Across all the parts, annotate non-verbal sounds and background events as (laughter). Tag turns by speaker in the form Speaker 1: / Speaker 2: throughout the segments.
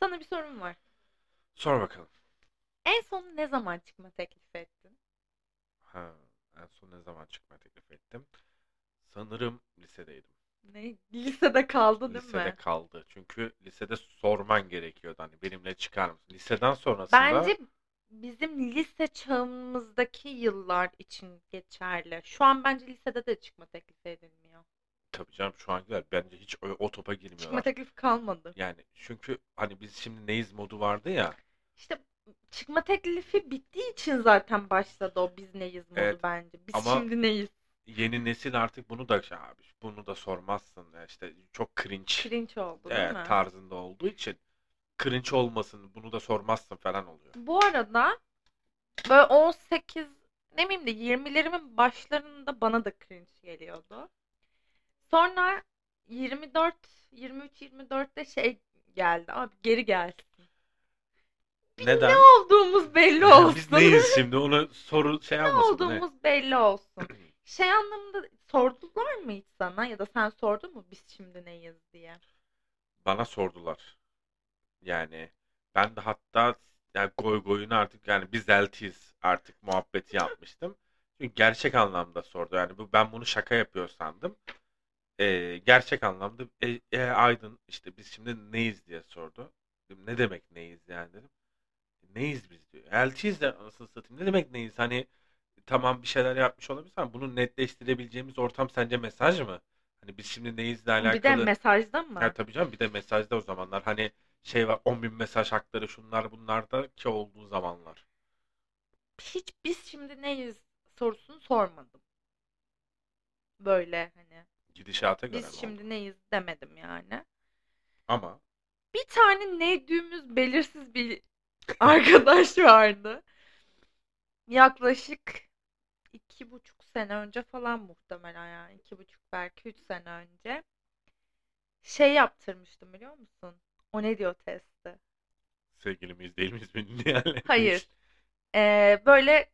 Speaker 1: Sana bir sorum var.
Speaker 2: Sor bakalım.
Speaker 1: En son ne zaman çıkma teklifi ettin?
Speaker 2: Ha, en son ne zaman çıkma teklif ettim? Sanırım lisedeydim.
Speaker 1: Ne? Lisede kaldı değil
Speaker 2: Lisede
Speaker 1: mi?
Speaker 2: kaldı. Çünkü lisede sorman gerekiyordu. Hani benimle çıkar mısın? Liseden sonrasında
Speaker 1: Bence bizim lise çağımızdaki yıllar için geçerli. Şu an bence lisede de çıkma teklifi edilmiyor.
Speaker 2: tabii canım şu an güzel. Bence hiç o, o topa
Speaker 1: Çıkma
Speaker 2: girmiyorlar.
Speaker 1: teklifi kalmadı.
Speaker 2: Yani çünkü hani biz şimdi neyiz modu vardı ya.
Speaker 1: İşte çıkma teklifi bittiği için zaten başladı o biz neyiz modu
Speaker 2: Evet.
Speaker 1: bence. Biz
Speaker 2: Ama-
Speaker 1: şimdi neyiz?
Speaker 2: Yeni nesil artık bunu da şey abi bunu da sormazsın. Ya işte çok cringe
Speaker 1: Cringe oldu değil
Speaker 2: evet,
Speaker 1: mi?
Speaker 2: tarzında olduğu için cringe olmasın bunu da sormazsın falan oluyor.
Speaker 1: Bu arada böyle 18 ne bileyim de 20'lerimin başlarında bana da cringe geliyordu. Sonra 24, 23, 24'te şey geldi. Abi geri gelsin.
Speaker 2: Neden?
Speaker 1: Ne olduğumuz belli olsun.
Speaker 2: Biz neyiz şimdi? Onu soru şey
Speaker 1: ne
Speaker 2: almasın. Ne?
Speaker 1: olduğumuz belli olsun. Şey anlamında sordular mı hiç sana ya da sen sordun mu biz şimdi neyiz diye?
Speaker 2: Bana sordular. Yani ben de hatta yani goy goyunu artık yani biz eltiyiz artık muhabbeti yapmıştım. Çünkü gerçek anlamda sordu. Yani bu, ben bunu şaka yapıyor sandım. Ee, gerçek anlamda e, e, Aydın işte biz şimdi neyiz diye sordu. Dedim, ne demek neyiz yani dedim. "E, Neyiz biz diyor. Eltiyiz de anasını satayım. Ne demek neyiz? Hani tamam bir şeyler yapmış olabilirsin ama bunu netleştirebileceğimiz ortam sence mesaj mı? Hani biz şimdi neyizle
Speaker 1: Bir de
Speaker 2: alakalı.
Speaker 1: mesajda mı?
Speaker 2: Ya tabii canım bir de mesajda o zamanlar hani şey var 10 bin mesaj hakları şunlar bunlar da ki olduğu zamanlar.
Speaker 1: hiç biz şimdi neyiz sorusunu sormadım. Böyle hani
Speaker 2: Gidişata göre mi
Speaker 1: biz
Speaker 2: oldu?
Speaker 1: şimdi neyiz demedim yani.
Speaker 2: Ama
Speaker 1: Bir tane neydüğümüz belirsiz bir (laughs) arkadaş vardı. Yaklaşık iki buçuk sene önce falan muhtemelen yani iki buçuk belki üç sene önce şey yaptırmıştım biliyor musun? O ne diyor testi?
Speaker 2: sevgili miyiz değil miyiz bilmiyorum. (laughs) Yani.
Speaker 1: Hayır. Ee, böyle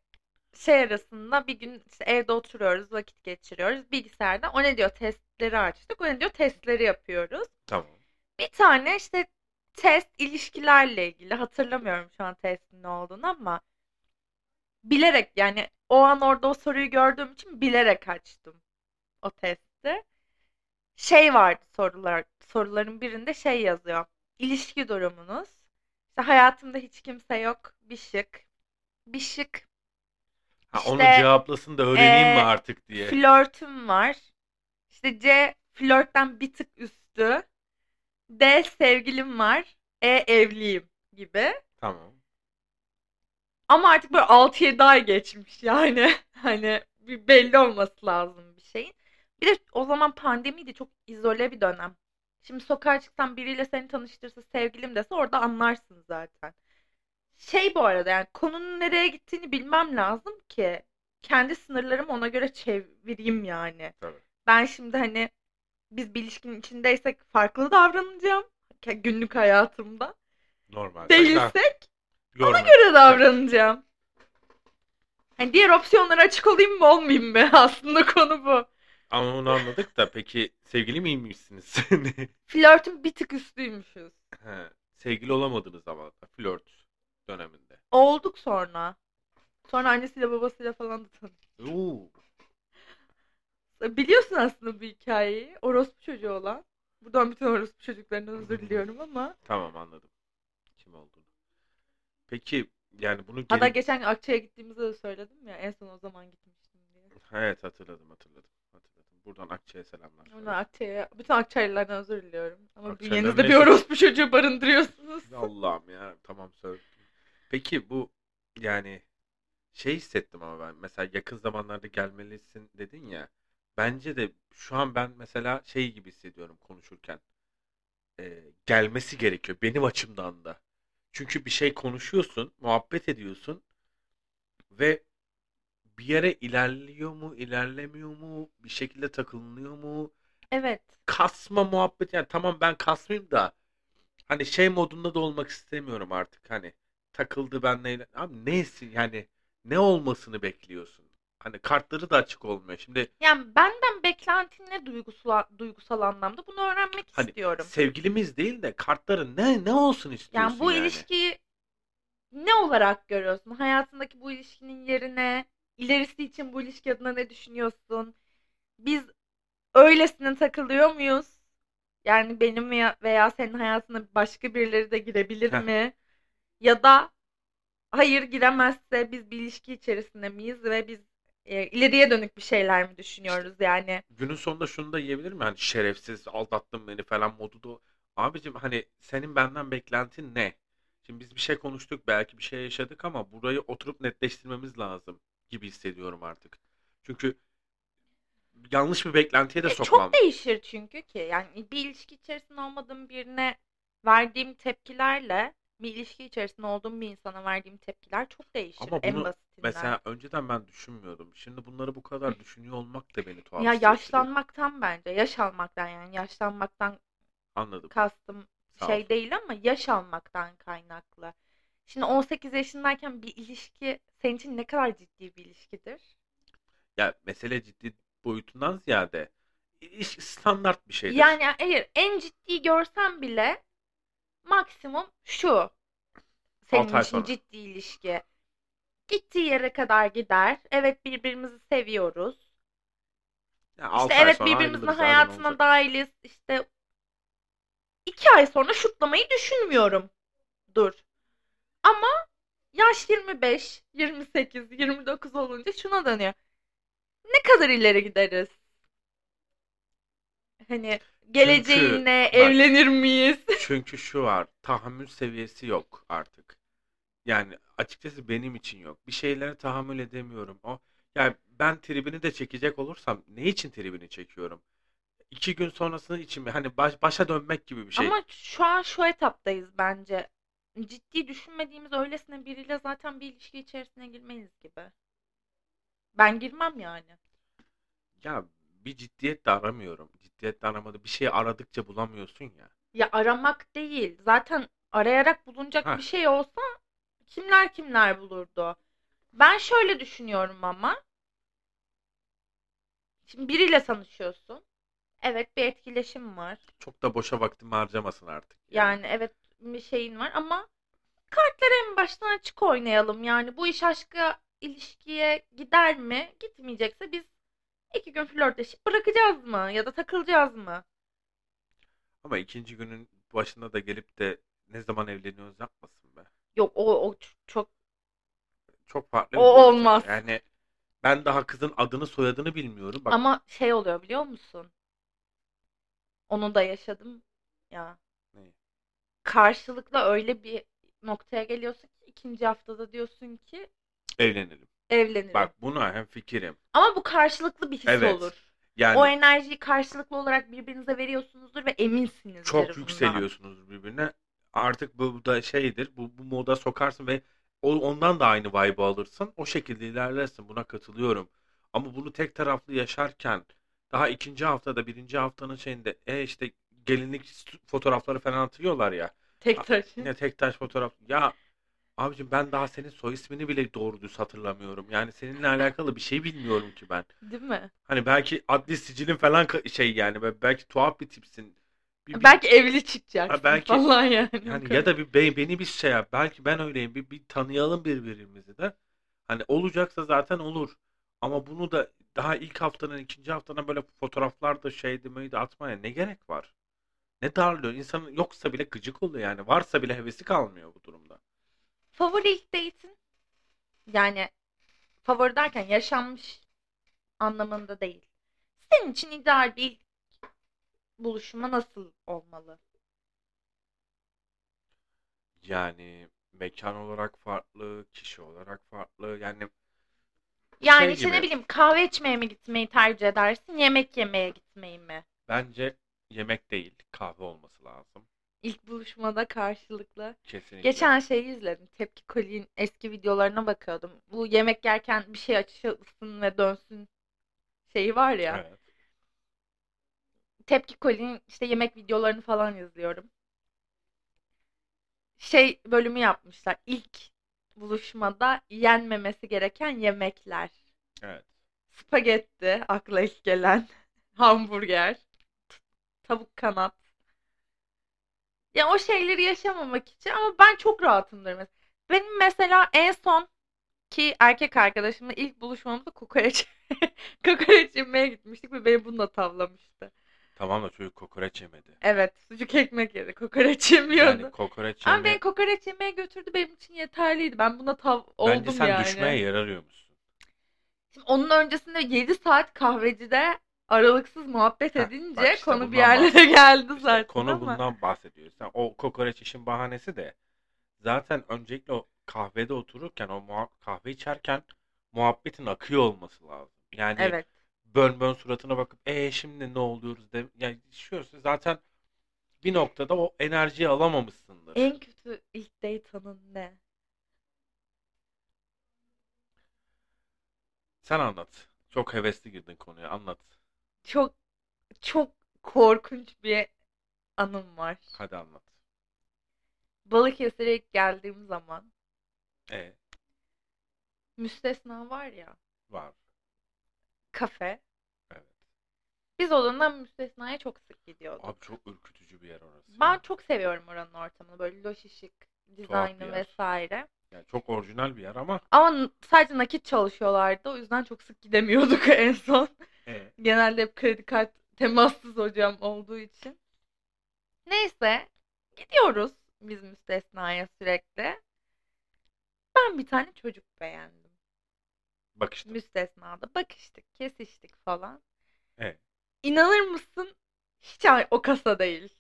Speaker 1: şey arasında bir gün işte evde oturuyoruz, vakit geçiriyoruz. Bilgisayarda o ne diyor testleri açtık. O ne diyor testleri yapıyoruz.
Speaker 2: Tamam.
Speaker 1: Bir tane işte test ilişkilerle ilgili hatırlamıyorum şu an testin ne olduğunu ama bilerek yani o an orada o soruyu gördüğüm için bilerek açtım o testi. Şey vardı sorular soruların birinde şey yazıyor. İlişki durumunuz. İşte hayatımda hiç kimse yok. Bir şık. Bir şık.
Speaker 2: Ha, onu
Speaker 1: İşte, e,
Speaker 2: cevaplasın da öğreneyim mi
Speaker 1: eee,
Speaker 2: artık diye.
Speaker 1: Flörtüm var. İşte C flörtten bir tık üstü. D sevgilim var. E evliyim gibi.
Speaker 2: Tamam.
Speaker 1: Ama artık böyle 6-7 ay geçmiş yani. (laughs) Hani bir belli olması lazım bir şeyin. Bir de o zaman pandemiydi çok izole bir dönem. Şimdi sokağa çıksan biriyle seni tanıştırsa sevgilim dese orada anlarsın zaten. Şey bu arada yani konunun nereye gittiğini bilmem lazım ki kendi sınırlarımı ona göre çevireyim yani.
Speaker 2: Tabii.
Speaker 1: Ben şimdi hani biz bir ilişkinin içindeysek farklı davranacağım Ke- günlük hayatımda.
Speaker 2: Normal. Ha,
Speaker 1: Değilsek
Speaker 2: görmedim.
Speaker 1: göre davranacağım. Hani diğer opsiyonlara açık olayım mı olmayayım mı? (laughs) Aslında konu bu.
Speaker 2: Ama onu anladık da peki sevgili miymişsiniz? (laughs) Hani,
Speaker 1: Flörtün bir tık üstüymüşüz.
Speaker 2: Ha, sevgili olamadınız ama flört döneminde.
Speaker 1: Olduk sonra. Sonra annesiyle babasıyla falan da tanıştık.
Speaker 2: Oo.
Speaker 1: Biliyorsun aslında bu hikayeyi. Orospu çocuğu olan. Buradan bütün orospu çocuklarından özür diliyorum ama.
Speaker 2: Tamam anladım. Kim olduğunu. Peki yani bunu
Speaker 1: Hatta
Speaker 2: geri-
Speaker 1: geçen gün Akça'ya gittiğimizde de söyledim ya. En son o zaman gitmiştim diye.
Speaker 2: Evet hatırladım hatırladım. hatırladım. Buradan Akça'ya selamlar.
Speaker 1: Buradan Akça'ya, bütün Akçaylılardan özür diliyorum. Ama
Speaker 2: Akçaylılar
Speaker 1: bünyenizde bir
Speaker 2: neyse.
Speaker 1: orospu çocuğu barındırıyorsunuz.
Speaker 2: Allah'ım ya tamam söz. Peki bu yani şey hissettim ama ben mesela yakın zamanlarda gelmelisin dedin ya. Bence de şu an ben mesela şey gibi hissediyorum konuşurken. Ee, gelmesi gerekiyor benim açımdan da. Çünkü bir şey konuşuyorsun, muhabbet ediyorsun ve bir yere ilerliyor mu, ilerlemiyor mu, bir şekilde takılınıyor mu?
Speaker 1: Evet.
Speaker 2: kasma muhabbet yani tamam ben kasmayayım da hani şey modunda da olmak istemiyorum artık hani takıldı ben neyle abi neysin yani ne olmasını bekliyorsun hani kartları da açık olmuyor. Şimdi
Speaker 1: Yani benden beklentin ne duygusal, duygusal anlamda bunu öğrenmek
Speaker 2: Hani
Speaker 1: istiyorum.
Speaker 2: sevgilimiz değil de kartların ne ne olsun istiyorsun
Speaker 1: Yani bu ilişkiyi ne olarak görüyorsun? Hayatındaki bu ilişkinin yerine, ilerisi için bu ilişki adına ne düşünüyorsun? Biz öylesine takılıyor muyuz? Yani benim veya, veya senin hayatına başka birileri de girebilir
Speaker 2: Heh.
Speaker 1: mi? Ya da hayır giremezse biz bir ilişki içerisinde miyiz ve biz e, ileriye dönük bir şeyler mi düşünüyoruz yani?
Speaker 2: günün sonunda şunu da yiyebilir mi? Hani şerefsiz aldattın beni falan modu da. Abicim hani senin benden beklentin ne? Şimdi biz bir şey konuştuk belki bir şey yaşadık ama burayı oturup netleştirmemiz lazım gibi hissediyorum artık. Çünkü yanlış bir beklentiye de
Speaker 1: E,
Speaker 2: sokmam.
Speaker 1: çok değişir çünkü ki. Yani bir ilişki içerisinde olmadığım birine verdiğim tepkilerle bir ilişki içerisinde olduğum bir insana verdiğim tepkiler çok değişir
Speaker 2: Ama
Speaker 1: en
Speaker 2: bunu
Speaker 1: basitinden.
Speaker 2: Mesela önceden ben düşünmüyordum. Şimdi bunları bu kadar düşünüyor olmak da beni tuhaf
Speaker 1: ya
Speaker 2: hissettiriyor.
Speaker 1: yaşlanmaktan bence, yaş almaktan yani yaşlanmaktan
Speaker 2: Anladım.
Speaker 1: kastım
Speaker 2: Sağ
Speaker 1: şey
Speaker 2: ol.
Speaker 1: değil ama yaş almaktan kaynaklı. Şimdi 18 yaşındayken bir ilişki senin için ne kadar ciddi bir ilişkidir?
Speaker 2: Ya mesele ciddi boyutundan ziyade iş standart bir şeydir.
Speaker 1: Yani hayır en ciddi görsem bile maksimum şu. Senin
Speaker 2: ay
Speaker 1: için
Speaker 2: sonra.
Speaker 1: ciddi ilişki. Gittiği yere kadar gider. Evet birbirimizi seviyoruz.
Speaker 2: Ya altı
Speaker 1: İşte
Speaker 2: ay
Speaker 1: evet
Speaker 2: sonra
Speaker 1: birbirimizin
Speaker 2: ayrılırız, aynen
Speaker 1: hayatına
Speaker 2: olacak.
Speaker 1: dahiliz. İşte iki ay sonra şutlamayı düşünmüyorum. Dur. Ama yaş 25, 28, 29 olunca şuna dönüyor. Ne kadar ileri gideriz? Hani geleceğin ne?
Speaker 2: bak-
Speaker 1: Evlenir miyiz?
Speaker 2: Çünkü şu var, tahammül seviyesi yok artık. Yani açıkçası benim için yok. Bir şeylere tahammül edemiyorum. O yani ben tribini de çekecek olursam ne için tribini çekiyorum? İki gün sonrasını için mi? Hani baş, başa dönmek gibi bir şey.
Speaker 1: Ama şu an şu etaptayız bence. Ciddi düşünmediğimiz öylesine biriyle zaten bir ilişki içerisine girmeyiz gibi. Ben girmem yani.
Speaker 2: Ya bir ciddiyet de aramıyorum. Ciddiyet de aramadı. Bir şey aradıkça bulamıyorsun ya.
Speaker 1: Ya aramak değil. Zaten arayarak bulunacak
Speaker 2: Heh.
Speaker 1: bir şey olsa kimler kimler bulurdu. Ben şöyle düşünüyorum ama. Şimdi biriyle tanışıyorsun. Evet bir etkileşim var.
Speaker 2: Çok da boşa vaktimi harcamasın artık.
Speaker 1: Yani evet bir şeyin var ama kartları en baştan açık oynayalım. Yani bu iş aşka ilişkiye gider mi? Gitmeyecekse biz iki gün flörtleşip bırakacağız mı? Ya da takılacağız mı?
Speaker 2: Ama ikinci günün başında da gelip de ne zaman evleniyoruz yapmasın be.
Speaker 1: Yok o, o ç- çok
Speaker 2: Çok farklı.
Speaker 1: O
Speaker 2: bir boyut.
Speaker 1: olmaz.
Speaker 2: Yani ben daha kızın adını soyadını bilmiyorum. Bak
Speaker 1: ama şey oluyor biliyor musun? Onu da yaşadım ya.
Speaker 2: Neyi?
Speaker 1: Karşılıklı öyle bir noktaya geliyorsun ki ikinci haftada diyorsun ki
Speaker 2: evlenelim.
Speaker 1: evlenirim.
Speaker 2: Bak buna hem fikirim.
Speaker 1: Ama bu karşılıklı bir his
Speaker 2: Evet. Hani
Speaker 1: olur.
Speaker 2: Yani
Speaker 1: o enerjiyi karşılıklı olarak birbirinize veriyorsunuzdur ve eminsinizdir
Speaker 2: çok
Speaker 1: bundan.
Speaker 2: yükseliyorsunuz birbirine. Artık bu, bu da şeydir. Bu, bu moda sokarsın ve o, ondan da aynı vibe'ı alırsın. O şekilde ilerlersin. Buna katılıyorum. Ama bunu tek taraflı yaşarken daha ikinci haftada birinci haftanın şeyinde e işte gelinlik s- fotoğrafları falan atıyorlar ya.
Speaker 1: Tek taşın.
Speaker 2: Yine tek taş fotoğraf. Ya abicim ben daha senin soy ismini bile doğru düz hatırlamıyorum. Yani seninle alakalı bir şey bilmiyorum ki ben.
Speaker 1: Değil mi?
Speaker 2: Hani belki adli sicilin falan ka- şey yani Be- belki tuhaf bir tipsin. Bir- bir-
Speaker 1: Belki evli çıkacaksın
Speaker 2: Ha, belki-
Speaker 1: falan yani.
Speaker 2: yani ya da bir be- beni bir şey yap. Belki ben öyleyim. Bir, bir tanıyalım birbirimizi de. Hani olacaksa zaten olur. Ama bunu da daha ilk haftanın ikinci haftanın böyle fotoğraflar da şey demeyi de atmaya ne gerek var? Ne darlıyor? İnsanın yoksa bile gıcık oluyor yani. Varsa bile hevesi kalmıyor bu durumda.
Speaker 1: Favori ilk date'in yani favori derken yaşanmış anlamında değil. Senin için ideal bir ilk buluşma nasıl olmalı?
Speaker 2: Yani mekan olarak farklı, kişi olarak farklı. Yani
Speaker 1: Yani
Speaker 2: Şey
Speaker 1: işte ne
Speaker 2: gibi.
Speaker 1: bileyim kahve içmeye mi gitmeyi tercih edersin, yemek yemeye gitmeyi mi?
Speaker 2: bence yemek değil, kahve olması lazım.
Speaker 1: İlk buluşmada karşılıklı.
Speaker 2: Kesinlikle.
Speaker 1: Geçen şeyi izledim. Tepki Koli'nin eski videolarına bakıyordum. Bu yemek yerken bir şey açılsın ve dönsün şeyi var ya.
Speaker 2: Evet.
Speaker 1: Tepki Koli'nin işte yemek videolarını falan izliyorum. Şey bölümü yapmışlar. İlk buluşmada yenmemesi gereken yemekler.
Speaker 2: Evet.
Speaker 1: Spagetti akla ilk gelen. (laughs) Hamburger. Tavuk kanat. Ya o şeyleri yaşamamak için ama ben çok rahatımdır mesela. Benim mesela en son ki erkek arkadaşımla ilk buluşmamızda (laughs) kokoreç kokoreç yemeye gitmiştik ve beni bununla tavlamıştı.
Speaker 2: Tamam da çocuk kokoreç yemedi.
Speaker 1: Evet, sucuk ekmek yedi. Kokoreç yemiyordu.
Speaker 2: Yani kokoreç
Speaker 1: Ama beni
Speaker 2: yeme...
Speaker 1: kokoreç yemeye götürdü benim için yeterliydi. Ben buna tav oldum
Speaker 2: Bence sen
Speaker 1: yani.
Speaker 2: düşmeye yer arıyormuşsun.
Speaker 1: Şimdi onun öncesinde 7 saat kahvecide aralıksız muhabbet
Speaker 2: Heh,
Speaker 1: edince
Speaker 2: bak işte
Speaker 1: konu bir
Speaker 2: bundan
Speaker 1: yerlere
Speaker 2: bahsediyorum.
Speaker 1: (laughs) geldi
Speaker 2: İşte
Speaker 1: zaten
Speaker 2: konu
Speaker 1: ama.
Speaker 2: bundan bahsediyor. Sen o kokoreç işin bahanesi de zaten öncelikle o kahvede otururken o muha- kahve içerken muhabbetin akıyor olması lazım. Yani
Speaker 1: Evet.
Speaker 2: bön bön suratına bakıp e şimdi ne oluyoruz de yani düşüyorsun zaten bir noktada o enerjiyi alamamışsındır.
Speaker 1: En kötü ilk date anın ne?
Speaker 2: Sen anlat. Çok hevesli girdin konuya. Anlat.
Speaker 1: Çok çok korkunç bir anım var.
Speaker 2: Hadi anlat.
Speaker 1: Balıkesir'e ilk geldiğim zaman
Speaker 2: E
Speaker 1: müstesna var ya
Speaker 2: var.
Speaker 1: kafe.
Speaker 2: Evet.
Speaker 1: Biz odandan müstesnaya çok sık gidiyorduk.
Speaker 2: Abi çok ürkütücü bir yer orası.
Speaker 1: Ben çok seviyorum oranın ortamını. Böyle loş ışık, dizaynı
Speaker 2: yer.
Speaker 1: vesaire.
Speaker 2: Yani çok orijinal bir yer ama
Speaker 1: Ama n- sadece nakit çalışıyorlardı. O yüzden çok sık gidemiyorduk (laughs) en son.
Speaker 2: e,
Speaker 1: Genelde hep kredi kart temassız hocam olduğu için. Neyse gidiyoruz biz müstesnaya sürekli. Ben bir tane çocuk beğendim.
Speaker 2: bak işte
Speaker 1: Müstesnada bakıştık, kesiştik falan.
Speaker 2: Evet.
Speaker 1: İnanır mısın? Hiç ay- o kasa değil.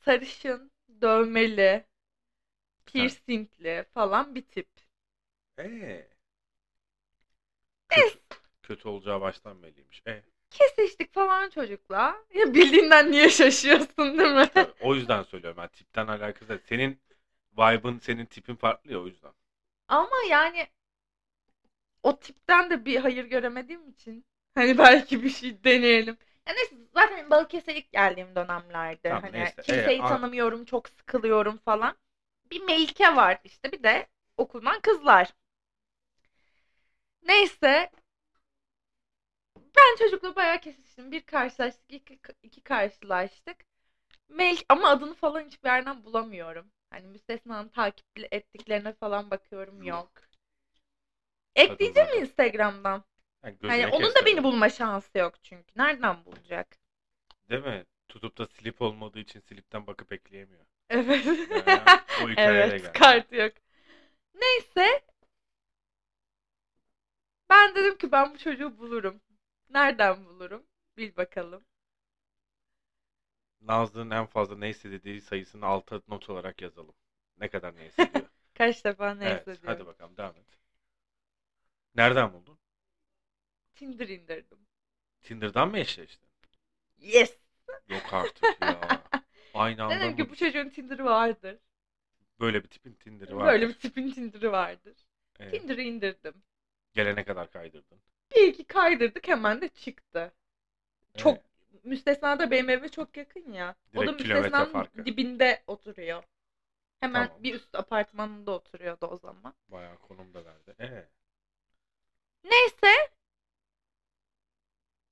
Speaker 1: Sarışın, dövmeli, piercingli falan bir tip. E.
Speaker 2: Ee. Kötü, kötü olacağı baştan belliymiş. E,
Speaker 1: Kesiştik falan çocukla. Ya bildiğinden niye şaşıyorsun değil mi?
Speaker 2: tabii, o yüzden söylüyorum. Yani tipten alakası değil. Senin vibe'ın, senin tipin farklı ya o yüzden.
Speaker 1: Ama yani o tipten de bir hayır göremediğim için hani (laughs) belki bir şey deneyelim. Ya neyse zaten Balıkesir'e ilk geldiğim dönemlerde
Speaker 2: Tamam,
Speaker 1: hani
Speaker 2: neyse.
Speaker 1: kimseyi
Speaker 2: Ee, an-
Speaker 1: tanımıyorum, çok sıkılıyorum falan. Bir Melike var işte bir de okuldan kızlar. Neyse ben çocukla bayağı kesiştim. Bir karşılaştık, iki, iki karşılaştık. Melike ama adını falan hiçbir yerden bulamıyorum. Hani müstesnanın takip ettiklerine falan bakıyorum yok. Ekleyeceğim mi
Speaker 2: Kadınlar.
Speaker 1: Instagram'dan?
Speaker 2: Yani
Speaker 1: Hani
Speaker 2: gözüne
Speaker 1: onun da
Speaker 2: kestirdim.
Speaker 1: beni bulma şansı yok çünkü. Nereden bulacak?
Speaker 2: Değil mi? Tutup da slip olmadığı için slipten bakıp ekleyemiyor.
Speaker 1: Evet.
Speaker 2: Yani
Speaker 1: (laughs)
Speaker 2: o hikayeye de
Speaker 1: evet,
Speaker 2: geldi.
Speaker 1: kart yok. Neyse. Ben dedim ki ben bu çocuğu bulurum. Nereden bulurum? Bil bakalım.
Speaker 2: Nazlı'nın en fazla ne istediği sayısını alta not olarak yazalım. Ne kadar
Speaker 1: (laughs)
Speaker 2: ne istediyor.
Speaker 1: Kaç defa neyse
Speaker 2: evet,
Speaker 1: diyorum.
Speaker 2: hadi bakalım devam et. Nereden buldun?
Speaker 1: Tinder indirdim.
Speaker 2: Tinder'dan mı eşleştin?
Speaker 1: Yes.
Speaker 2: Yok artık
Speaker 1: (laughs)
Speaker 2: ya. Aynı anda
Speaker 1: Dedim ki
Speaker 2: mı?
Speaker 1: bu çocuğun Tinder'ı vardır.
Speaker 2: Böyle bir tipin Tinder'ı var.
Speaker 1: Böyle bir tipin Tinder'ı vardır. Tinder'ı indirdim.
Speaker 2: Gelene kadar kaydırdın.
Speaker 1: Bir iki kaydırdık hemen de çıktı. Çok
Speaker 2: Evet.
Speaker 1: müstesna da benim evime çok yakın ya. o da
Speaker 2: Direkt kilometre
Speaker 1: müstesnanın
Speaker 2: farkı.
Speaker 1: dibinde oturuyor. Hemen
Speaker 2: Tamam.
Speaker 1: bir üst apartmanında oturuyordu o zaman.
Speaker 2: Bayağı konum da verdi. Ee,
Speaker 1: Neyse.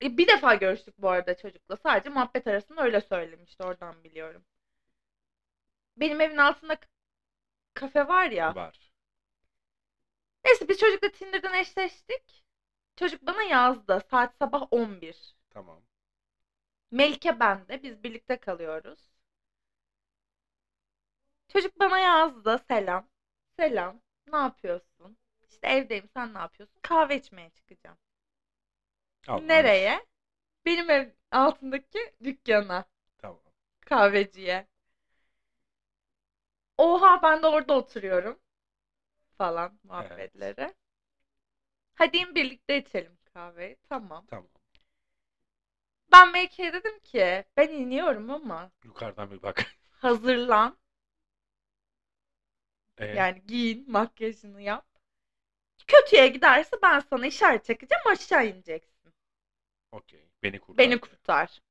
Speaker 1: E, bir defa görüştük bu arada çocukla. Sadece muhabbet arasında öyle söylemişti. Oradan biliyorum. Benim evin altında k- kafe var ya.
Speaker 2: var.
Speaker 1: Neyse biz çocukla Tinder'dan eşleştik. Çocuk bana yazdı. Saat sabah 11.
Speaker 2: Tamam.
Speaker 1: Melike ben de biz birlikte kalıyoruz. Çocuk bana yazdı selam. Selam. Ne yapıyorsun? İşte evdeyim sen ne yapıyorsun? Kahve içmeye çıkacağım.
Speaker 2: Tamam.
Speaker 1: Nereye? Benim ev altındaki dükkana.
Speaker 2: Tamam.
Speaker 1: Kahveciye. Oha ben de orada oturuyorum. Falan muhabbetleri. Hadi in birlikte içelim kahveyi. Tamam.
Speaker 2: Tamam.
Speaker 1: Ben Melike'ye dedim ki ben iniyorum ama
Speaker 2: Yukarıdan bir bak. (laughs)
Speaker 1: hazırlan.
Speaker 2: Ee,
Speaker 1: Yani giyin, makyajını yap. Kötüye giderse ben sana işaret çekeceğim, aşağı ineceksin.
Speaker 2: Okey. Beni kurtar.
Speaker 1: Beni kurtar.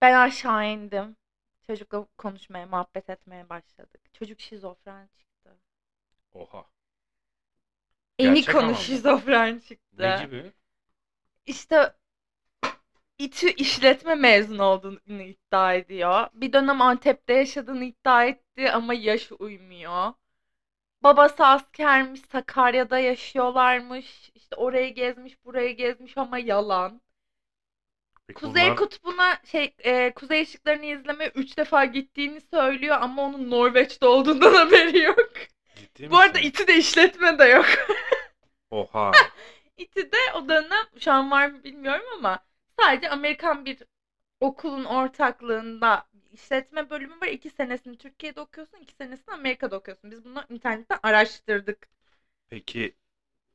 Speaker 1: Ben aşağı indim. Çocukla konuşmaya, muhabbet etmeye başladık. Çocuk şizofren çıktı.
Speaker 2: Oha.
Speaker 1: En
Speaker 2: Gerçek
Speaker 1: ikonu
Speaker 2: anlamda.
Speaker 1: şizofren çıktı.
Speaker 2: Ne gibi?
Speaker 1: İşte İTÜ işletme mezunu olduğunu iddia ediyor. Bir dönem Antep'te yaşadığını iddia etti ama yaş uymuyor. Babası askermiş, Sakarya'da yaşıyorlarmış. İşte orayı gezmiş, burayı gezmiş ama yalan.
Speaker 2: Peki
Speaker 1: Kuzey
Speaker 2: bunlar-
Speaker 1: Kutbu'na şey e, Kuzey Işıklarını izlemeye 3 defa gittiğini söylüyor ama onun Norveç'te olduğundan (laughs) haberi yok.
Speaker 2: Ciddi
Speaker 1: Bu arada
Speaker 2: misin?
Speaker 1: iti de işletme de yok. (laughs)
Speaker 2: Oha.
Speaker 1: İTÜ'de o dönem şu an var mı bilmiyorum ama sadece Amerikan bir okulun ortaklığında işletme bölümü var. İki senesini Türkiye'de okuyorsun, iki senesini Amerika'da okuyorsun. Biz bunu internetten araştırdık.
Speaker 2: Peki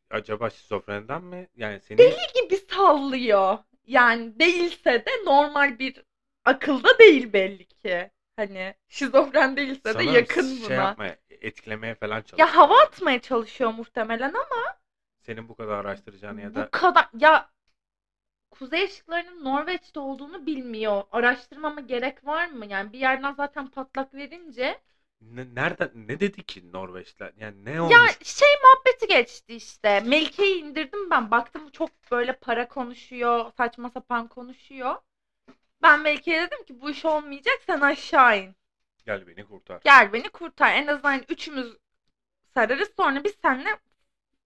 Speaker 2: acaba şizofrenden mi? Yani seni
Speaker 1: Deli gibi sallıyor. Yani değilse de normal bir akılda değil belli ki. Hani şizofren değilse de
Speaker 2: sanırım
Speaker 1: yakın
Speaker 2: Şey
Speaker 1: buna.
Speaker 2: yapmaya, etkilemeye falan çalışıyor.
Speaker 1: Ya hava atmaya çalışıyor muhtemelen ama
Speaker 2: Senin bu kadar araştıracağını ya
Speaker 1: Bu
Speaker 2: da
Speaker 1: kadar ya Kuzey ışıklarının Norveç'te olduğunu bilmiyor. Araştırmama gerek var mı? Yani bir yerden zaten patlak verince.
Speaker 2: ne, nereden ne dedi ki Norveçler? Yani ne
Speaker 1: Ya
Speaker 2: olmuş?
Speaker 1: şey muhabbeti geçti işte. Melike'yi indirdim ben. Baktım çok böyle para konuşuyor. Saçma sapan konuşuyor. Ben Melike'ye dedim ki bu iş olmayacak sen aşağı in.
Speaker 2: Gel beni kurtar.
Speaker 1: Gel beni kurtar. En azından üçümüz sararız sonra biz seninle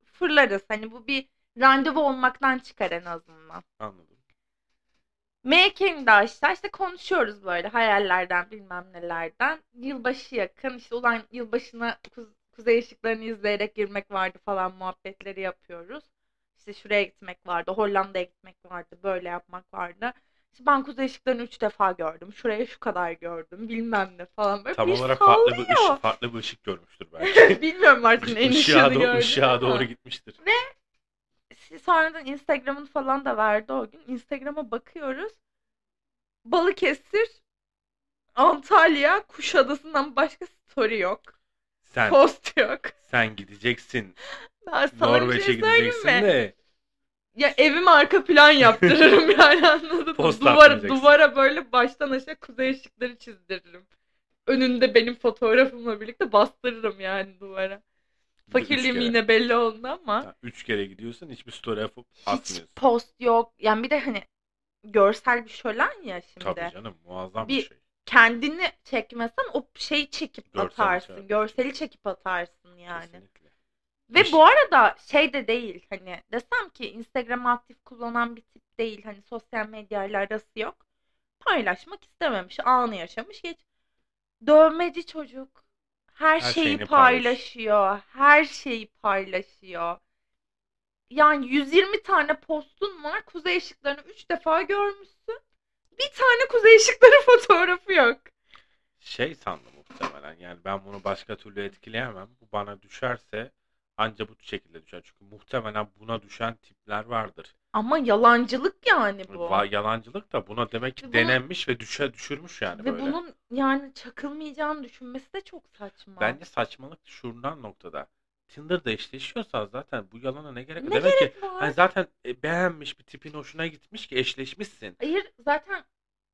Speaker 1: fırlarız. Hani bu bir randevu olmaktan çıkar en azından.
Speaker 2: Anladım.
Speaker 1: Making daha işte işte konuşuyoruz böyle hayallerden bilmem nelerden. Yılbaşı yakın işte ulan yılbaşına kuz- kuzey ışıklarını izleyerek girmek vardı falan muhabbetleri yapıyoruz. İşte şuraya gitmek vardı, Hollanda'ya gitmek vardı, böyle yapmak vardı. İşte ben kuzey ışıklarını üç defa gördüm, şuraya şu kadar gördüm bilmem ne falan böyle
Speaker 2: Tam
Speaker 1: bir
Speaker 2: olarak
Speaker 1: sallıyor.
Speaker 2: farklı bir ışık, farklı bir ışık görmüştür
Speaker 1: (laughs)
Speaker 2: belki.
Speaker 1: Bilmiyorum artık neyin
Speaker 2: Işığa,
Speaker 1: ışığını
Speaker 2: doğru,
Speaker 1: gördüm
Speaker 2: ışığa
Speaker 1: ama.
Speaker 2: doğru gitmiştir.
Speaker 1: sonradan Instagram'ını falan da verdi o gün. Instagram'a bakıyoruz. Balıkesir, Antalya, Kuşadası'ndan başka story yok.
Speaker 2: Sen
Speaker 1: Post yok.
Speaker 2: sen gideceksin.
Speaker 1: Ben sana bir
Speaker 2: Norveç'e
Speaker 1: şey söyleyeyim
Speaker 2: gideceksin
Speaker 1: mi?
Speaker 2: de
Speaker 1: Ya evim arka plan yaptırırım
Speaker 2: (laughs)
Speaker 1: yani anladın mı?
Speaker 2: Post
Speaker 1: Duvara,
Speaker 2: atmayacaksın.
Speaker 1: duvara böyle baştan aşağı kuzey ışıkları çizdiririm. Önünde benim fotoğrafımla birlikte bastırırım yani duvara.
Speaker 2: bir de üç
Speaker 1: Fakirliğim
Speaker 2: kere.
Speaker 1: yine belli oldu ama.
Speaker 2: Ha, Üç kere gidiyorsun hiçbir story atıp
Speaker 1: Hiç
Speaker 2: atmıyorsun.
Speaker 1: post yok. Yani bir de hani görsel bir şölen ya şimdi.
Speaker 2: Tabii canım muazzam bir,
Speaker 1: Bir-
Speaker 2: şey.
Speaker 1: Kendini çekmesen o şeyi çekip
Speaker 2: Görsel
Speaker 1: atarsın.
Speaker 2: çağrı.
Speaker 1: Görseli çekip atarsın yani.
Speaker 2: Kesinlikle.
Speaker 1: Ve bu arada şey de değil hani desem ki Instagram'ı aktif kullanan bir tip değil. Hani sosyal medyayla arası yok. Paylaşmak istememiş. Anı yaşamış. Geç. Dövmeci çocuk. Her,
Speaker 2: Her
Speaker 1: şeyi
Speaker 2: şeyini
Speaker 1: paylaşıyor. Her şeyi paylaşıyor. Yani 120 tane postun var. Kuzey ışıklarını 3 defa görmüşsün. Bir tane kuzey ışıkları (laughs) fotoğrafı yok.
Speaker 2: şey sandı muhtemelen. Yani ben bunu başka türlü etkileyemem. Bu bana düşerse anca bu şekilde düşer. Çünkü muhtemelen buna düşen tipler vardır.
Speaker 1: Ama yalancılık yani E, bu.
Speaker 2: Va- Yalancılık da buna demek ki
Speaker 1: Ve bunu-
Speaker 2: denenmiş ve düşe düşürmüş yani
Speaker 1: Ve
Speaker 2: böyle.
Speaker 1: bunun yani çakılmayacağını düşünmesi de çok saçma.
Speaker 2: Bence saçmalık şuradan noktada. Tinder'da eşleşiyorsan zaten bu yalana ne gerek
Speaker 1: Ne
Speaker 2: Demek ki
Speaker 1: Var.
Speaker 2: hani zaten e, beğenmiş bir tipin hoşuna gitmiş ki eşleşmişsin.
Speaker 1: Hayır zaten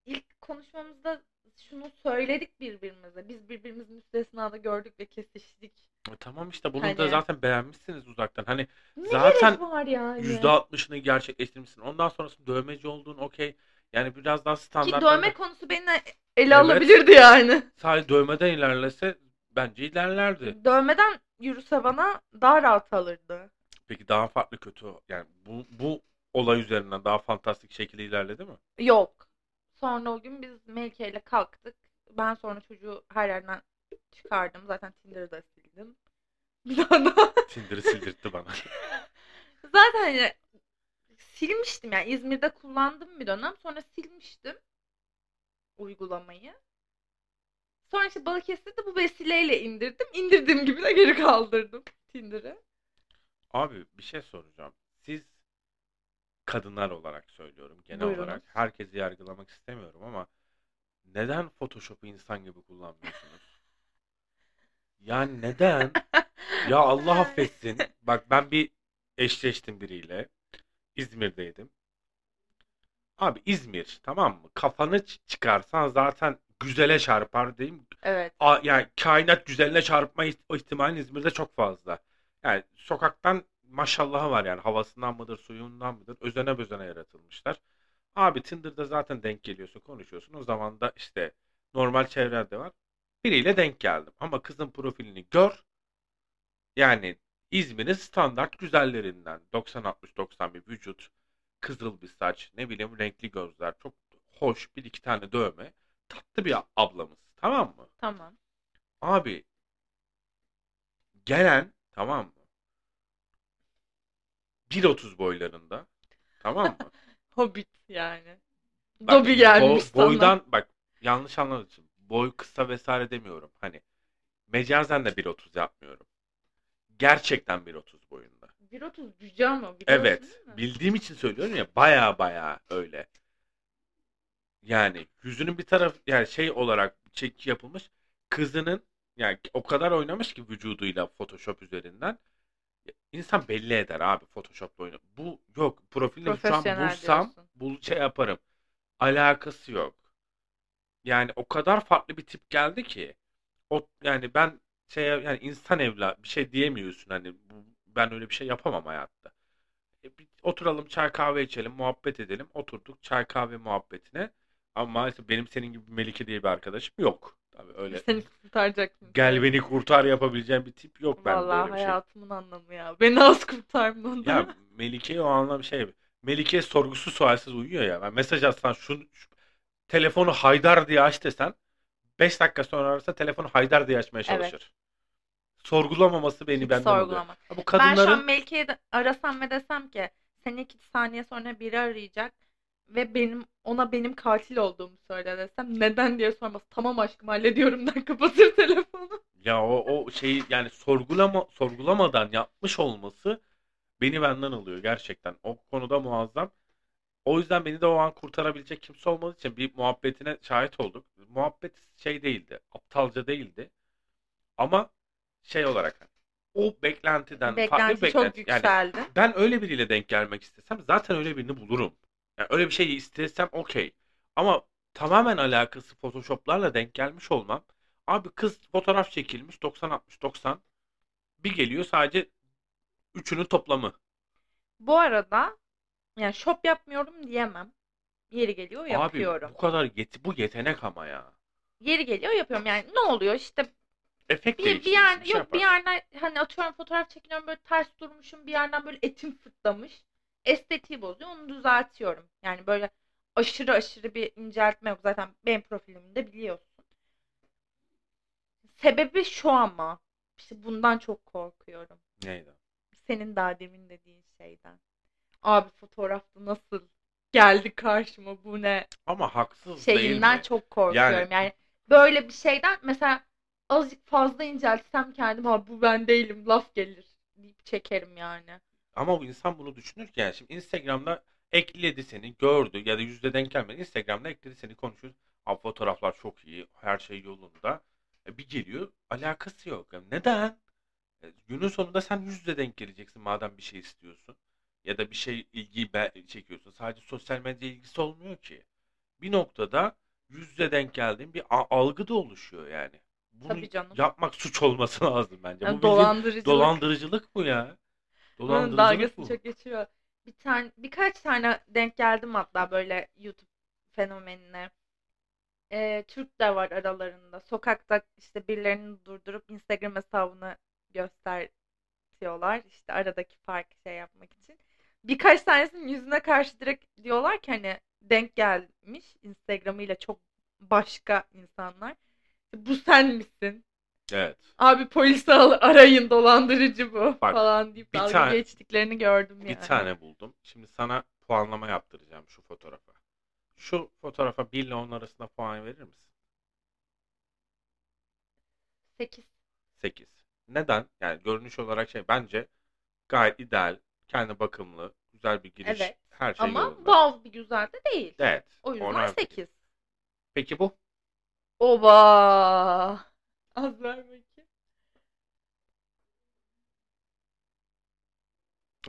Speaker 1: ilk konuşmamızda şunu söyledik birbirimize. Biz birbirimizin müstesnada gördük ve kesiştik.
Speaker 2: E, Tamam işte bunu da
Speaker 1: Hani-
Speaker 2: zaten beğenmişsiniz uzaktan. Hani
Speaker 1: Ne
Speaker 2: Zaten
Speaker 1: gerek var yani?
Speaker 2: %60'ını gerçekleştirmişsin. Ondan sonrasında dövmeci olduğun okey. Yani biraz daha
Speaker 1: Ki
Speaker 2: standart.
Speaker 1: dövme konusu beni ele alabilirdi yani.
Speaker 2: Sadece dövmeden ilerlese bence ilerlerdi.
Speaker 1: Dövmeden yürüse bana daha rahat alırdı.
Speaker 2: Peki daha farklı kötü yani bu bu olay üzerinden daha fantastik şekilde ilerledi
Speaker 1: (laughs)
Speaker 2: mi?
Speaker 1: Yok. Sonra o gün biz Melike ile kalktık. Ben sonra çocuğu her yerden çıkardım. Zaten Tinder'ı da sildim. Bir daha da
Speaker 2: Tinder'ı sildirtti bana.
Speaker 1: Zaten hani silmiştim yani İzmir'de kullandım bir dönem sonra silmiştim uygulamayı. Sonra işte Balıkesir'de bu vesileyle indirdim. İndirdiğim gibi de geri kaldırdım Tinder'ı.
Speaker 2: Abi bir şey soracağım. Siz kadınlar olarak söylüyorum genel
Speaker 1: Buyurun.
Speaker 2: olarak. Herkesi yargılamak istemiyorum ama neden Photoshop'u insan gibi kullanmıyorsunuz? Yani neden? Ya Allah affetsin. Bak ben bir eşleştim biriyle. İzmir'deydim. Abi İzmir tamam mı? Kafanı ç- çıkarsan zaten güzele çarpar diyeyim.
Speaker 1: Evet.
Speaker 2: A- yani kainat güzeline çarpma iht- ihtimalin İzmir'de çok fazla. Yani sokaktan maşallahı var yani havasından mıdır suyundan mıdır özene bezene yaratılmışlar. Abi Tinder'da zaten denk geliyorsun konuşuyorsun o zaman da işte normal çevrede var. Biriyle denk geldim ama kızın profilini gör yani İzmir'in standart güzellerinden 90-60-91 vücut kızıl bir saç ne bileyim renkli gözler çok hoş bir iki tane dövme tatlı bir ablamız tamam mı?
Speaker 1: Tamam.
Speaker 2: Abi gelen tamam mı? 1.30 boylarında tamam mı?
Speaker 1: Hobbit yani.
Speaker 2: Bak,
Speaker 1: Dobby gelmiş
Speaker 2: bo-
Speaker 1: sana.
Speaker 2: Boydan bak yanlış anlamışsın. Boy kısa vesaire demiyorum. Hani mecazen de 1.30 yapmıyorum. Gerçekten 1.30 boyunda.
Speaker 1: 1.30 cüce ama biliyorsun
Speaker 2: Evet.
Speaker 1: değil mi?
Speaker 2: Bildiğim için söylüyorum ya baya baya öyle. Yani yüzünün bir taraf yani şey olarak çek yapılmış kızının yani o kadar oynamış ki vücuduyla Photoshop üzerinden insan belli eder abi Photoshop'la oyna. Bu yok profilde şu an
Speaker 1: Profesyonel
Speaker 2: bulsam
Speaker 1: diyorsun.
Speaker 2: bul şey yaparım. Alakası yok. Yani o kadar farklı bir tip geldi ki o yani ben şey yani insan evla bir şey diyemiyorsun hani bu, ben öyle bir şey yapamam hayatta. E, bir oturalım çay kahve içelim, muhabbet edelim. Oturduk çay kahve muhabbetine. Ama maalesef benim senin gibi Melike diye bir arkadaşım yok. Tabii öyle
Speaker 1: Seni kurtaracak mı?
Speaker 2: gel beni kurtar yapabileceğim bir tip yok bende
Speaker 1: Vallahi
Speaker 2: öyle bir şey.
Speaker 1: hayatımın anlamı ya. Beni az kurtarmadı. (laughs)
Speaker 2: Ya Melike o anlam şey. Melike sorgusuz sualsiz uyuyor ya. Ben mesaj atsan şu, şu- telefonu Haydar diye aç desen 5 dakika sonra arasa telefonu Haydar diye açmaya
Speaker 1: Evet.
Speaker 2: çalışır. Sorgulamaması beni
Speaker 1: Hiç
Speaker 2: benden alıyor.
Speaker 1: sorgulama.
Speaker 2: Ha, Bu
Speaker 1: Ben şu
Speaker 2: kadınların
Speaker 1: an Melike'yi de arasam ve desem ki seni iki saniye sonra biri arayacak ve benim ona benim katil olduğumu söyle desem neden diye sormaz. Tamam aşkım hallediyorum (laughs) der kapatır telefonu.
Speaker 2: Ya o, o şeyi yani sorgulama sorgulamadan yapmış olması beni benden alıyor gerçekten. O konuda muazzam. O yüzden beni de o an kurtarabilecek kimse olmadığı için bir muhabbetine şahit olduk. Muhabbet şey değildi, aptalca değildi. Ama şey olarak o beklentiden farklı bir
Speaker 1: Beklenti çok
Speaker 2: beklenti. Yani
Speaker 1: yükseldi.
Speaker 2: ben öyle biriyle denk gelmek istesem zaten öyle birini bulurum. Yani öyle bir şey istesem okey. Ama tamamen alakası Photoshop'larla denk gelmiş olmam. Abi kız fotoğraf çekilmiş 90 60 90. Bir geliyor sadece üçünün toplamı.
Speaker 1: Bu arada yani şop yapmıyorum diyemem. Yeri geliyor yapıyorum.
Speaker 2: Abi bu kadar yet bu yetenek ama ya.
Speaker 1: Yeri geliyor yapıyorum yani ne oluyor işte
Speaker 2: Efekt
Speaker 1: bir, bir
Speaker 2: değiştirmiş,
Speaker 1: yer
Speaker 2: şey
Speaker 1: yok bir
Speaker 2: yapar.
Speaker 1: yerden hani atıyorum fotoğraf çekiniyorum böyle ters durmuşum bir yerden böyle etim fırtlamış. Estetiği bozuyor onu düzeltiyorum. Yani böyle aşırı aşırı bir inceltme yok zaten benim profilimde biliyorsun. Sebebi şu ama işte bundan çok korkuyorum.
Speaker 2: Neydi?
Speaker 1: Senin daha demin dediğin şeyden. Abi fotoğrafta nasıl geldi karşıma bu ne
Speaker 2: Ama haksız değil
Speaker 1: şeyinden Şey,
Speaker 2: mi?
Speaker 1: çok korkuyorum.
Speaker 2: Yani-
Speaker 1: Yani, böyle bir şeyden mesela azıcık fazla inceltsem kendim ha bu ben değilim laf gelir deyip çekerim yani.
Speaker 2: Ama bu insan bunu düşünürken yani şimdi Instagram'da ekledi seni gördü ya da yüzde denk gelmedi. Instagram'da ekledi seni konuşuyor. Abi fotoğraflar çok iyi. Her şey yolunda. E bir geliyor alakası yok. Yani neden? E, günün sonunda sen yüzde denk geleceksin madem bir şey istiyorsun. Ya da bir şey ilgiyi be- çekiyorsun. Sadece sosyal medya ilgisi olmuyor ki. Bir noktada yüzde denk geldiğin bir a- algı da oluşuyor yani. Bunu
Speaker 1: Tabii canım.
Speaker 2: yapmak suç olması (laughs) lazım bence.
Speaker 1: yani
Speaker 2: bu bildiğin
Speaker 1: dolandırıcılık.
Speaker 2: Dolandırıcılık bu ya.
Speaker 1: Bunun
Speaker 2: Dolandırıcılık
Speaker 1: dalgasını
Speaker 2: bu.
Speaker 1: çok geçiyor. Bir tane birkaç tane denk geldim hatta böyle YouTube fenomenine. Ee, Türk de var aralarında. Sokakta işte birilerini durdurup Instagram hesabını gösteriyorlar. İşte aradaki farkı şey yapmak için. Birkaç tanesinin yüzüne karşı direkt diyorlar ki hani denk gelmiş Instagram'ıyla çok başka insanlar. Bu sen misin?
Speaker 2: Evet.
Speaker 1: Abi polisi al- arayın dolandırıcı bu
Speaker 2: Bak,
Speaker 1: falan deyip
Speaker 2: bir
Speaker 1: dalga
Speaker 2: tane-
Speaker 1: geçtiklerini gördüm yani.
Speaker 2: Bir tane buldum. Şimdi sana puanlama yaptıracağım şu fotoğrafa. Şu fotoğrafa 1 ile 10 arasında puan verir misin?
Speaker 1: 8.
Speaker 2: şey 8. Neden? Yani görünüş olarak şey bence gayet ideal, kendi bakımlı, güzel bir giriş.
Speaker 1: Evet.
Speaker 2: Her şey
Speaker 1: Ama
Speaker 2: yolunda.
Speaker 1: wow bir güzel de değil.
Speaker 2: Evet.
Speaker 1: O
Speaker 2: ona-
Speaker 1: yüzden 8.
Speaker 2: Peki bu?
Speaker 1: Oba. Az ver bakayım.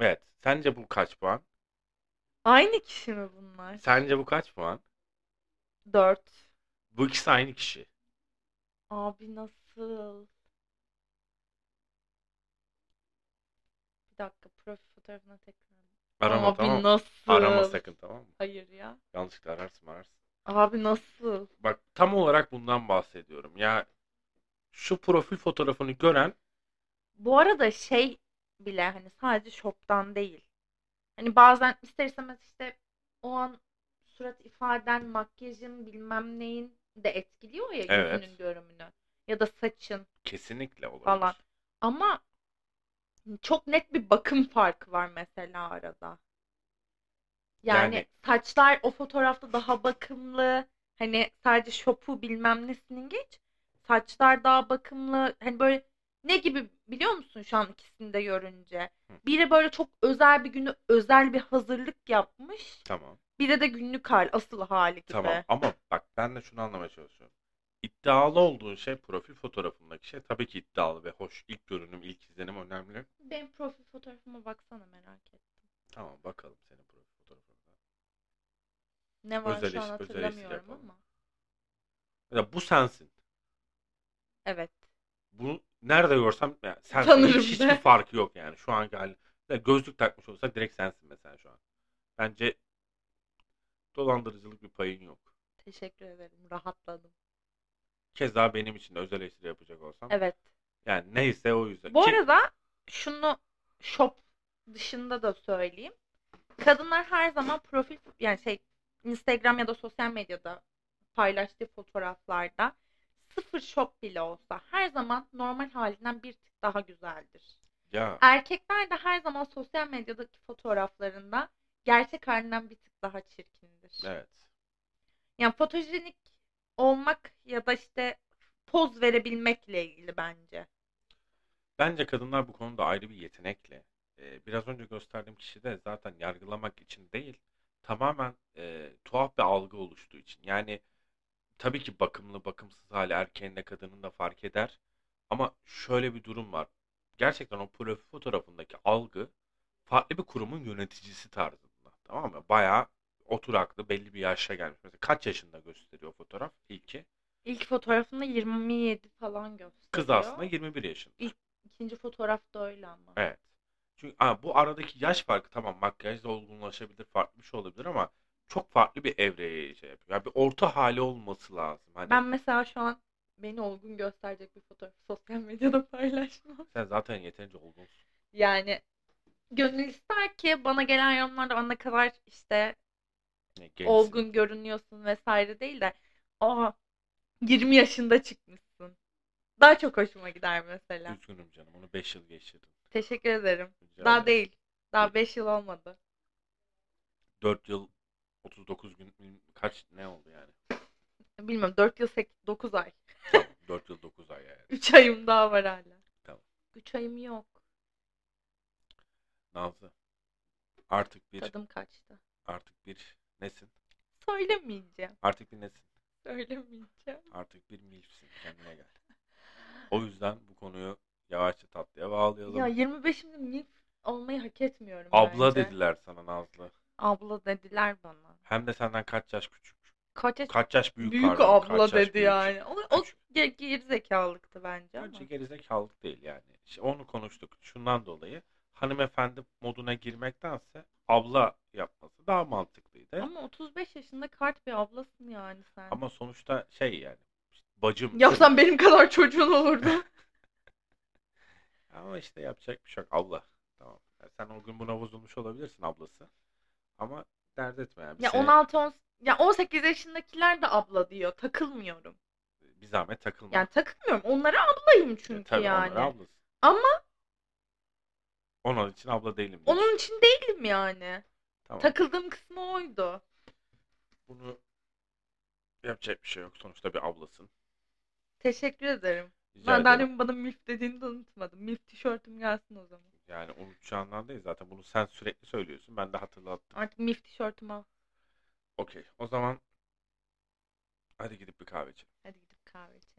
Speaker 2: Evet. Sence bu kaç puan?
Speaker 1: Aynı kişi mi bunlar?
Speaker 2: Sence bu kaç puan?
Speaker 1: 4.
Speaker 2: Bu ikisi aynı kişi.
Speaker 1: Abi nasıl? Bir dakika profil fotoğrafına tekrar.
Speaker 2: Arama
Speaker 1: Abi
Speaker 2: tamam mı?
Speaker 1: nasıl?
Speaker 2: Arama sakın tamam mı?
Speaker 1: Hayır ya.
Speaker 2: Yanlışlıkla ararsın ararsın.
Speaker 1: Abi nasıl?
Speaker 2: Bak tam olarak bundan bahsediyorum. Ya şu profil fotoğrafını gören
Speaker 1: Bu arada şey bile hani sadece şoptan değil. Hani bazen ister istemez işte o an surat ifaden, makyajın bilmem neyin de etkiliyor ya
Speaker 2: Evet.
Speaker 1: yüzünün görünümünü. Ya da saçın.
Speaker 2: kesinlikle olabilir.
Speaker 1: Falan. Ama çok net bir bakım farkı var mesela arada. Yani,
Speaker 2: Yani-
Speaker 1: saçlar o fotoğrafta daha bakımlı. Hani sadece şopu bilmem nesinin geç. Saçlar daha bakımlı. Hani böyle ne gibi biliyor musun şu an ikisini de görünce?
Speaker 2: Hı.
Speaker 1: Biri böyle çok özel bir günü özel bir hazırlık yapmış.
Speaker 2: Tamam.
Speaker 1: Biri de günlük hal, asıl hali gibi.
Speaker 2: Tamam ama bak ben de şunu anlamaya çalışıyorum. İddialı olduğun şey profil fotoğrafındaki şey tabii ki iddialı ve hoş. İlk görünüm, ilk izlenim önemli.
Speaker 1: Benim profil fotoğrafıma baksana merak et.
Speaker 2: Tamam bakalım senin profil fotoğrafına.
Speaker 1: Ne var
Speaker 2: Özel
Speaker 1: şu an
Speaker 2: iş- özel işi
Speaker 1: hatırlamıyorum
Speaker 2: yapalım.
Speaker 1: ama.
Speaker 2: Ya bu sensin.
Speaker 1: Evet.
Speaker 2: Bunu nerede görsem ya sen
Speaker 1: Tanırım
Speaker 2: hiç,
Speaker 1: de.
Speaker 2: hiçbir farkı yok yani şu anki halin. Ya gözlük takmış olsa direkt sensin mesela şu an. Bence dolandırıcılık bir payın yok.
Speaker 1: Teşekkür ederim. Rahatladım.
Speaker 2: Keza benim için de özel eleştiri yapacak olsam.
Speaker 1: Evet.
Speaker 2: Yani neyse o yüzden.
Speaker 1: Bu
Speaker 2: Ki-
Speaker 1: arada şunu shop dışında da söyleyeyim. Kadınlar her zaman profil yani şey Instagram ya da sosyal medyada paylaştığı fotoğraflarda sıfır shop bile olsa her zaman normal halinden bir tık daha güzeldir.
Speaker 2: ya
Speaker 1: Erkekler de her zaman sosyal medyadaki fotoğraflarında gerçek halinden bir tık daha çirkindir.
Speaker 2: evet.
Speaker 1: Yani fotojenik olmak ya da işte poz verebilmekle ilgili bence.
Speaker 2: Bence kadınlar bu konuda ayrı bir yetenekle. e, biraz önce gösterdiğim kişi de zaten yargılamak için değil, tamamen e, tuhaf bir algı oluştuğu için. Yani tabii ki bakımlı, bakımsız hali erkeğin de kadının da fark eder. Ama şöyle bir durum var. Gerçekten o profil fotoğrafındaki algı farklı bir kurumun yöneticisi tarzında. Tamam mı? Bayağı oturaklı belli bir yaşa gelmiş. Mesela kaç yaşında gösteriyor fotoğraf? İlki.
Speaker 1: İlk fotoğrafında 27 falan gösteriyor.
Speaker 2: Kız aslında 21 yaşında.
Speaker 1: İkinci fotoğraf da öyle ama.
Speaker 2: Evet. Çünkü ha, bu aradaki yaş farkı tamam makyajla olgunlaşabilir, farklı bir şey olabilir ama çok farklı bir evreye şey yapıyor. Yani bir orta hali olması lazım. Hani
Speaker 1: Ben mesela şu an beni olgun gösterecek bir fotoğraf sosyal medyada (laughs) paylaşmam.
Speaker 2: sen zaten yeterince olgunsun.
Speaker 1: Yani gönül ister ki bana gelen yorumlarda "Aa, ne kadar işte
Speaker 2: Yani Hani gençsin.
Speaker 1: olgun görünüyorsun vesaire değil de aa 20 yaşında çıkmışsın. Daha çok hoşuma gider mesela.
Speaker 2: Üzgünüm canım. Onu 5 yıl geçirdim.
Speaker 1: Teşekkür ederim.
Speaker 2: Rica
Speaker 1: Daha
Speaker 2: ederim.
Speaker 1: değil. Daha 5 yıl olmadı.
Speaker 2: 4 yıl 39 gün gün- kaç ne oldu yani?
Speaker 1: Bilmem 4 yıl 8, 9 ay.
Speaker 2: Tamam, 4 yıl 9 ay yani.
Speaker 1: 3 ayım daha var hala.
Speaker 2: Tamam.
Speaker 1: 3 ayım yok.
Speaker 2: Nazlı. Artık bir
Speaker 1: Tadım kaçtı.
Speaker 2: artık bir nesin?
Speaker 1: Söylemeyeceğim.
Speaker 2: Artık bir nesin?
Speaker 1: Söylemeyeceğim.
Speaker 2: Artık bir milfsin. Kendine gel. O yüzden bu konuyu yavaşça tatlıya bağlayalım.
Speaker 1: Ya 25'imde milf olmayı hak etmiyorum
Speaker 2: Abla
Speaker 1: bence.
Speaker 2: dediler sana Nazlı.
Speaker 1: Abla dediler bana.
Speaker 2: Hem de senden kaç yaş küçük.
Speaker 1: Kaç yaş-
Speaker 2: Kaç yaş büyük
Speaker 1: büyük,
Speaker 2: pardon,
Speaker 1: abla
Speaker 2: kaç yaş
Speaker 1: dedi
Speaker 2: büyük.
Speaker 1: yani. O, o
Speaker 2: Küçük.
Speaker 1: ge- gerizekalıktı bence ama.
Speaker 2: Bence gerizekalık değil yani. İşte onu konuştuk. Şundan dolayı hanımefendi moduna girmektense abla yapması daha mantıklıydı. Ama,
Speaker 1: Ama 35 yaşında kart bir ablasın yani sen.
Speaker 2: sonuçta şey yani işte bacım.
Speaker 1: Yapsan benim kadar çocuğun
Speaker 2: (laughs)
Speaker 1: olurdu.
Speaker 2: Ama işte yapacak bir şey yok. Abla. Tamam. Yani sen o gün buna vurulmuş olabilirsin ablası. Ama dert etme yani. Biz
Speaker 1: ya
Speaker 2: seni-
Speaker 1: 16 on, ya 18 yaşındakiler de abla diyor. Takılmıyorum.
Speaker 2: bir zahmet takılma.
Speaker 1: Yani takılmıyorum. Onlara ablayım çünkü
Speaker 2: E, tabii
Speaker 1: yani.
Speaker 2: onlara ablasın.
Speaker 1: Ama-
Speaker 2: onun için abla değilim. diyorsun.
Speaker 1: Onun için değilim yani.
Speaker 2: Tamam.
Speaker 1: Takıldığım kısmı oydu.
Speaker 2: Bunu yapacak bir şey yok. Sonuçta bir ablasın.
Speaker 1: Teşekkür ederim.
Speaker 2: Rica
Speaker 1: Ben daha
Speaker 2: ederim.
Speaker 1: demin bana milf dediğini de unutmadım. Milf tişörtüm gelsin o zaman.
Speaker 2: Yani unutacağından değil zaten. Bunu sen sürekli söylüyorsun. Ben de hatırlattım.
Speaker 1: Artık milf tişörtümü al.
Speaker 2: Okey. O zaman hadi gidip bir kahve içelim.
Speaker 1: Hadi gidip kahve içelim.